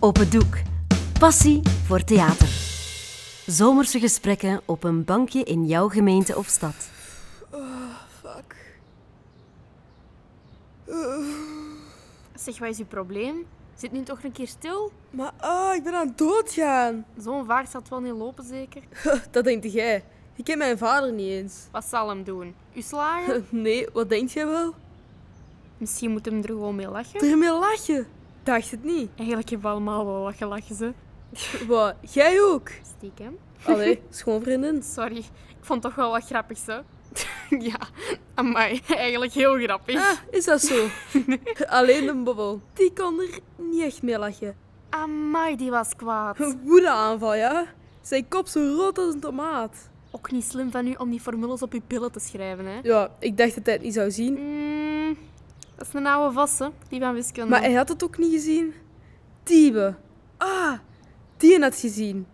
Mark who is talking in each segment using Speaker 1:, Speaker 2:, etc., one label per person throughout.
Speaker 1: Op het doek. Passie voor theater. Zomerse gesprekken op een bankje in jouw gemeente of stad.
Speaker 2: Fuck.
Speaker 3: Zeg, wat is uw probleem? Zit nu toch een keer stil?
Speaker 2: Maar ah, ik ben aan het doodgaan. Ah,
Speaker 3: Zo'n vaart zal het wel niet lopen, zeker?
Speaker 2: Dat denkt jij. Ik ken mijn vader niet eens.
Speaker 3: Wat zal hem doen? U slagen?
Speaker 2: Nee, wat denk jij wel?
Speaker 3: Misschien moet hem er gewoon mee lachen?
Speaker 2: Ermee lachen. Dacht het niet.
Speaker 3: Eigenlijk hebben we allemaal wel wat gelachen, ze.
Speaker 2: Wat, jij ook?
Speaker 3: Stiekem.
Speaker 2: Allee, schoonvriendin.
Speaker 3: Sorry, ik vond het toch wel wat grappig, ze. ja, amai, eigenlijk heel grappig.
Speaker 2: Ah, is dat zo? Alleen de bobbel. Die kon er niet echt mee lachen.
Speaker 3: Amai, die was kwaad.
Speaker 2: Een woedeaanval, ja? Zijn kop zo rood als een tomaat.
Speaker 3: Ook niet slim van u om die formules op uw pillen te schrijven, hè?
Speaker 2: Ja, ik dacht dat hij het niet zou zien.
Speaker 3: Mm, dat is een oude vaste, die van wiskunde.
Speaker 2: Maar hij had het ook niet gezien. Diebe. Ah, die had het gezien.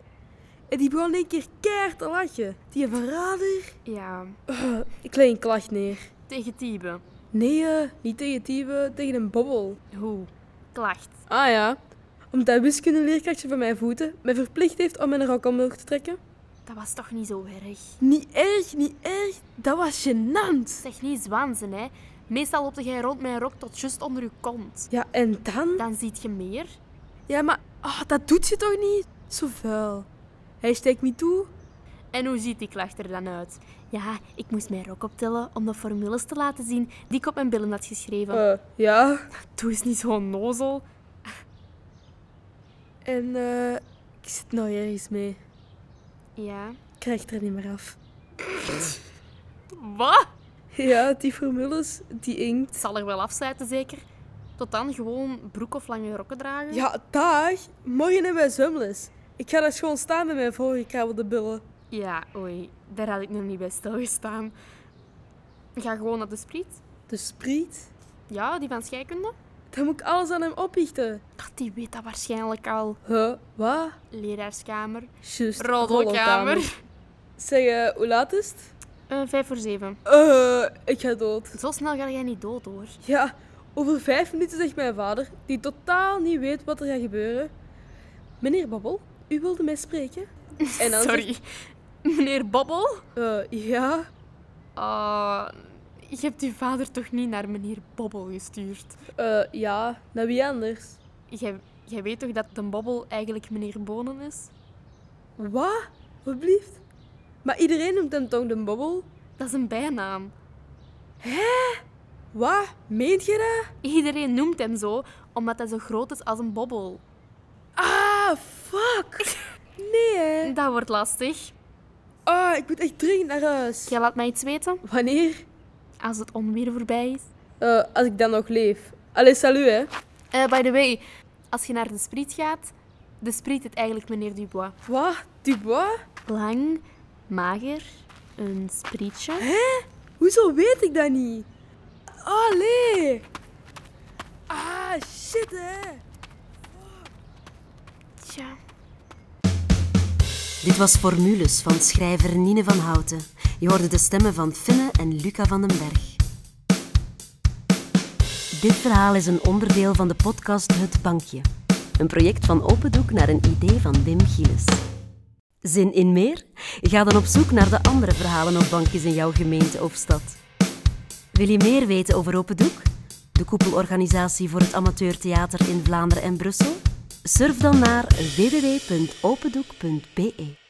Speaker 2: En die begon in één keer keihard te lachen. Die verrader.
Speaker 3: Ja,
Speaker 2: Ah, ik leg een klacht neer.
Speaker 3: tegen Tibe.
Speaker 2: Nee, eh, niet tegen Diebe, tegen een bobbel.
Speaker 3: Hoe? Klacht.
Speaker 2: Ah ja. Omdat wiskundeleerkrachtje van mijn voeten mij verplicht heeft om mijn rok omhoog te trekken.
Speaker 3: Dat was toch niet zo erg?
Speaker 2: Niet erg, niet erg. Dat was gênant.
Speaker 3: Zeg niet zwanzen, hè. Meestal loopt jij rond mijn rok tot just onder je kont.
Speaker 2: Ja, en dan?
Speaker 3: Dan ziet je meer.
Speaker 2: Ja, maar ah, dat doet je toch niet? Zo vuil. Hij steekt me toe.
Speaker 3: En hoe ziet die klacht er dan uit? Ja, ik moest mijn rok optillen om de formules te laten zien die ik op mijn billen had geschreven.
Speaker 2: Eh, ja.
Speaker 3: Doe eens niet zo'n nozel.
Speaker 2: En eh, ik zit nou ergens mee.
Speaker 3: Ja.
Speaker 2: Ik krijg het er niet meer af.
Speaker 3: Wat?
Speaker 2: Ja, die formules, die inkt.
Speaker 3: Het zal er wel afsluiten, zeker. Tot dan gewoon broek of lange rokken dragen.
Speaker 2: Ja, dag. Morgen hebben wij zwemles. Ik ga daar gewoon staan met mijn voorgekrabbelde billen.
Speaker 3: Ja, oei. Daar had ik nog niet bij stilgestaan. Ga gewoon naar de spriet.
Speaker 2: De spriet.
Speaker 3: Ja, die van scheikunde.
Speaker 2: Dan moet ik alles aan hem opbiechten.
Speaker 3: Ach, die weet dat waarschijnlijk al.
Speaker 2: Huh, wat?
Speaker 3: Leraarskamer.
Speaker 2: Just.
Speaker 3: Roddelkamer.
Speaker 2: Zeg, eh, hoe laat is het?
Speaker 3: Eh, vijf voor zeven.
Speaker 2: Eh, ik ga dood.
Speaker 3: Zo snel ga jij niet dood hoor.
Speaker 2: Ja, over vijf minuten zegt mijn vader, die totaal niet weet wat er gaat gebeuren. Meneer Babbel, u wilde mij spreken? En dan
Speaker 3: Sorry. Meneer Bobbel?
Speaker 2: zegt, eh, ja.
Speaker 3: Ah, je hebt uw vader toch niet naar meneer Bobbel gestuurd?
Speaker 2: Eh, ja, naar wie anders?
Speaker 3: Jij, jij weet toch dat de Bobbel eigenlijk meneer Bonen is?
Speaker 2: Wat? Wat blieft? Maar iedereen noemt hem toch de bobbel?
Speaker 3: Dat is een bijnaam.
Speaker 2: Wat? Meent je dat?
Speaker 3: Iedereen noemt hem zo omdat hij zo groot is als een bobbel.
Speaker 2: Ah, fuck! Nee, hè?
Speaker 3: Dat wordt lastig.
Speaker 2: Ah, ik moet echt dringend naar huis.
Speaker 3: Jij laat mij iets weten
Speaker 2: Wanneer?
Speaker 3: als het onweer voorbij is.
Speaker 2: Eh, als ik dan nog leef. Allee, salut, hè?
Speaker 3: Eh, by the way, als je naar de spriet gaat, de spriet heet eigenlijk meneer Dubois.
Speaker 2: Wat? Dubois?
Speaker 3: Lang, mager, een sprietje.
Speaker 2: Hoezo weet ik dat niet? Allee! Ah, shit, hè?
Speaker 3: Tja.
Speaker 1: Dit was Formules van schrijver Nine van Houten. Je hoorde de stemmen van Finne en Luca van den Berg. Dit verhaal is een onderdeel van de podcast Het Bankje. Een project van Opendoek naar een idee van Wim Gielis. Zin in meer? Ga dan op zoek naar de andere verhalen op bankjes in jouw gemeente of stad. Wil je meer weten over Opendoek? De koepelorganisatie voor het amateurtheater in Vlaanderen en Brussel? Surf dan naar www.opendoek.be.